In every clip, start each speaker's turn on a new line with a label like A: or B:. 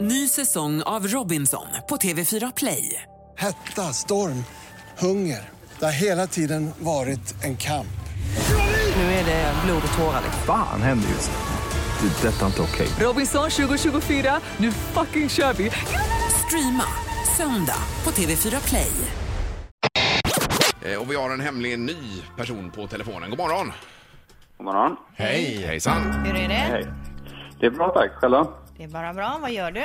A: Ny säsong av Robinson på TV4 Play.
B: Hetta, storm, hunger. Det har hela tiden varit en kamp.
A: Nu är det blod och tårar. liksom.
C: Fan händer just nu. Det. är Detta är inte okej.
A: Robinson 2024, nu fucking kör vi! Streama söndag på TV4 Play.
D: Eh, Och vi har en hemlig ny person på telefonen. God morgon!
E: God morgon.
D: Hej! Hejsan!
F: Hur är det?
E: Hej. Det är bra, tack. Själva?
F: Det är bara bra. Vad gör du?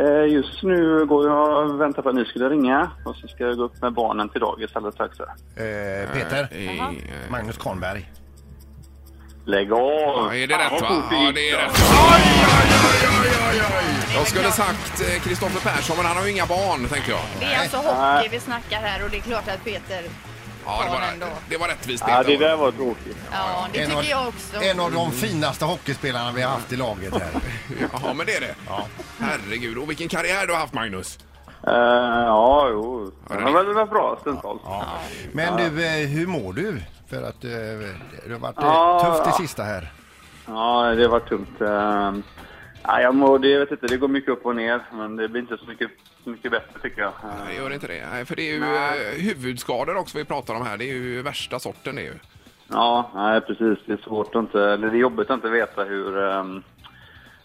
E: Eh, just nu går jag och väntar på att ni skulle ringa och så ska jag gå upp med barnen till dagis alldeles strax. här.
G: Eh, Peter.
D: Eh, eh,
G: Magnus Kornberg.
E: Lägg av!
D: Ja, är det
E: Fan,
D: rätt
E: vad
D: va?
E: fort
D: Ja,
E: gick.
D: det är rätt. Aj, aj, aj, aj, aj, aj. Jag skulle sagt eh, Kristoffer Persson, men han har ju inga barn, tänkte jag.
F: Det är alltså hockey vi snackar här och det är klart att Peter...
D: Ja, det
F: barn ändå.
D: var, det var rättvist,
E: Ja, det
D: Peter.
E: där var tråkigt.
F: Ja, det
G: En
F: tycker
G: av-
F: jag också.
G: En av de finaste hockeyspelarna vi har haft i laget här.
D: Ja, men det är det. Herregud, och vilken karriär du har haft, Magnus.
E: Eh, ja, jo.
D: det
E: Det var väl väl bra stundtals.
G: Men du, eh, hur mår du? För att eh, det har varit
E: Ja,
G: eh, tufft
E: ja.
G: det sista här.
E: Ja, det var tungt. Eh, ja, jag mår, det, jag vet inte, det går mycket upp och ner, men det blir inte så mycket, så mycket bättre tycker jag. Eh,
D: Nej, gör inte det. Nej, för det är ju
E: Nej.
D: eh, huvudskador också vi pratar om här. Det är ju värsta sorten det är ju.
E: Ja, nej, precis. Det är svårt att inte, eller det är jobbigt att inte veta hur, ehm,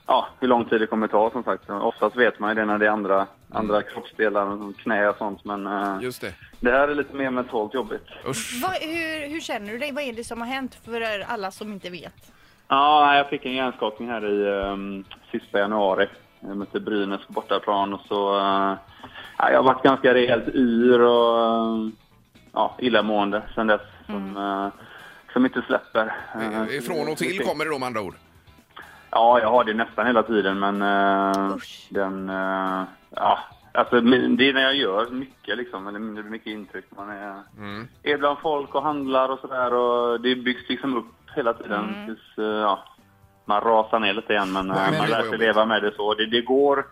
E: ja, hur lång tid det kommer ta som sagt. Oftast vet man ju det när det är andra, andra kroppsdelar, som knä och sånt, men eh,
D: Just det.
E: det här är lite mer mentalt jobbigt.
D: Usch.
F: Vad, hur, hur känner du dig? Vad är det som har hänt för er alla som inte vet?
E: Ja, nej, jag fick en hjärnskakning här i um, sista januari. Jag mötte Brynäs på bortaplan och så, eh, ja, jag har varit ganska rejält yr och ehm, ja, illamående sen dess. Som, eh, som inte släpper. Eh, så
D: Ifrån
E: det-
D: och
E: det
D: till
E: fick-
D: kommer det då med andra ord.
E: Ja, jag har det nästan hela tiden, men eh,
F: Usch.
E: den... eh, ja, alltså, men det är när jag gör mycket, liksom, eller det blir mycket intryck. Man är, är bland folk och handlar och sådär och det byggs liksom upp hela tiden tills eh, ja, man rasar ner lite igen. Men, eh,
D: men
E: man
D: det var
E: lär sig
D: jobbigt.
E: leva med det så. Det, det går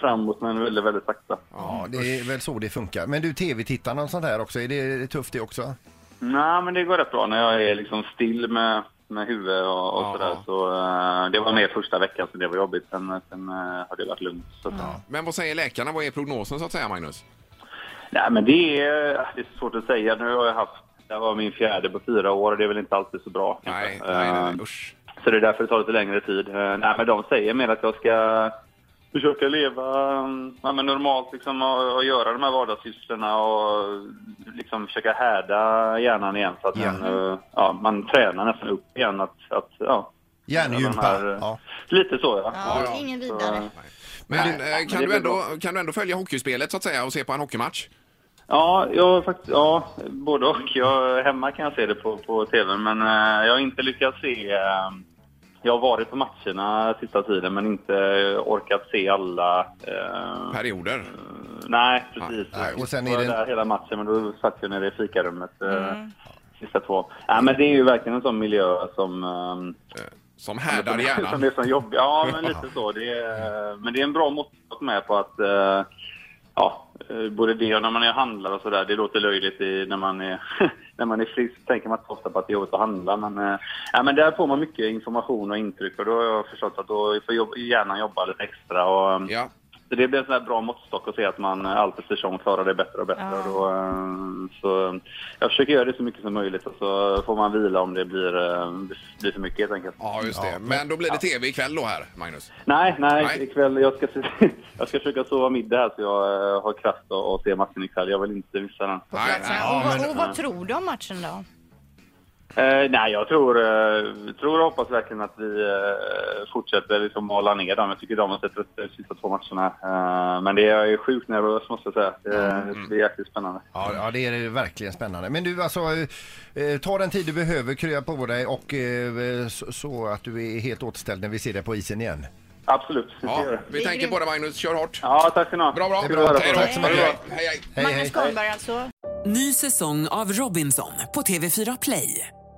E: framåt, men väldigt, väldigt sakta.
G: Ja, det är väl så det funkar. Men du, tv-tittarna och sånt här också, är det tufft det också?
E: Nej, men det går rätt bra när jag är liksom still med, med huvudet och, och
D: Ja,
E: sådär.
D: ja.
E: Så, eh, det var med första veckan, så det var jobbigt. Sen, sen eh, har det varit lugnt. Så, att-
D: Men vad säger läkarna? Vad är prognosen så att säga, Magnus?
E: Nej, men det är, det är svårt att säga. Nu har jag haft, det här var min fjärde på fyra år och det är väl inte alltid så bra. kanske.
D: Nej, nej, nej,
E: Eh,
D: nej. usch.
E: Så det är därför det tar lite längre tid. Eh, Nej, men de säger mer att jag ska försöka leva mm, ja, men normalt liksom, och, och göra de här vardagssysslorna och liksom försöka härda hjärnan igen så att
G: Ja.
E: man, eh, ja, man tränar nästan upp igen. Att, att, ja, de
G: Hjärngympa.
E: här, eh,
G: Ja.
E: Lite så, ja.
F: Ja, ingen
E: Så,
F: vidare.
D: Men
E: Nej,
D: eh,
E: men
D: kan,
E: det
D: du
E: blir
D: ändå, kan du ändå följa hockeyspelet så att säga och se på en hockeymatch?
E: Ja, jag faktiskt, ja, både och. Jag, hemma kan jag se det på, på tv, men eh, jag har inte lyckats se... Eh, jag har varit på matcherna sista tiden, men inte orkat se alla. Eh,
D: Perioder?
E: nej, precis.
G: Nej, och sen är
E: jag var
G: det-
E: där hela matchen, men då satt jag nere i fikarummet. Eh, Sista två. Nej, men det är ju verkligen en sån miljö som... ehm,
D: Som härdar
E: som- Som
D: hjärnan?
E: Äh, det är som jobb. Ja, men lite så. Det är, men det är en bra mått att med på att... eh, Ja, eh, både det och när man är och handlar och sådär. Det låter löjligt i, när, man är, när man är frisk. tänker man inte så ofta på att det är jobbigt att handla. Men, eh, ja, men där får man mycket information och intryck. Och då har jag förstått att då får jobb, hjärnan jobba lite extra. Och, eh,
D: Ja.
E: så det blir en sån här bra måttstock att se att man eh, allt eftersom klarar det bättre och bättre.
F: Ja.
E: Och då, eh, så, eh, jag försöker göra det så mycket som möjligt och så får man vila om det blir, eh, blir för mycket helt enkelt.
D: ja, just det. Men då blir det tv ikväll då här, Magnus?
E: Nej, nej,
D: Nej.
E: ikväll. Jag ska, jag ska försöka sova middag här så jag eh, har kraft att, att se matchen ikväll. Jag vill inte missa den.
F: På
D: Nej,
F: platsen.
D: nej.
F: och,
G: men-
F: vad, och vad tror du om matchen då?
E: Eh, nej, jag tror, eh, tror och hoppas verkligen att vi eh, fortsätter liksom hålla ner dem. Jag tycker de har sett ut de sista två matcherna. Eh, men det är jag är sjukt nervös måste jag säga. Det,
D: Mm.
E: det blir jäkligt spännande.
G: Ja, ja, det är verkligen spännande. Men du, alltså, eh, eh, ta den tid du behöver, krya på dig och eh, så, så att du är helt återställd när vi ser dig på isen igen.
E: Absolut, vi ska göra
D: Ja,
E: det.
D: vi tänker på det, Magnus. Kör hårt.
E: Ja, tack ska ni ha.
D: Bra, bra.
E: Kul att höra på
D: Hej då.
E: er.
G: Tack så mycket.
D: Ha det bra. Hej, hej.
G: Hej, hej.
F: Magnus Karlberg alltså.
A: Ny säsong av Robinson på TV4 Play.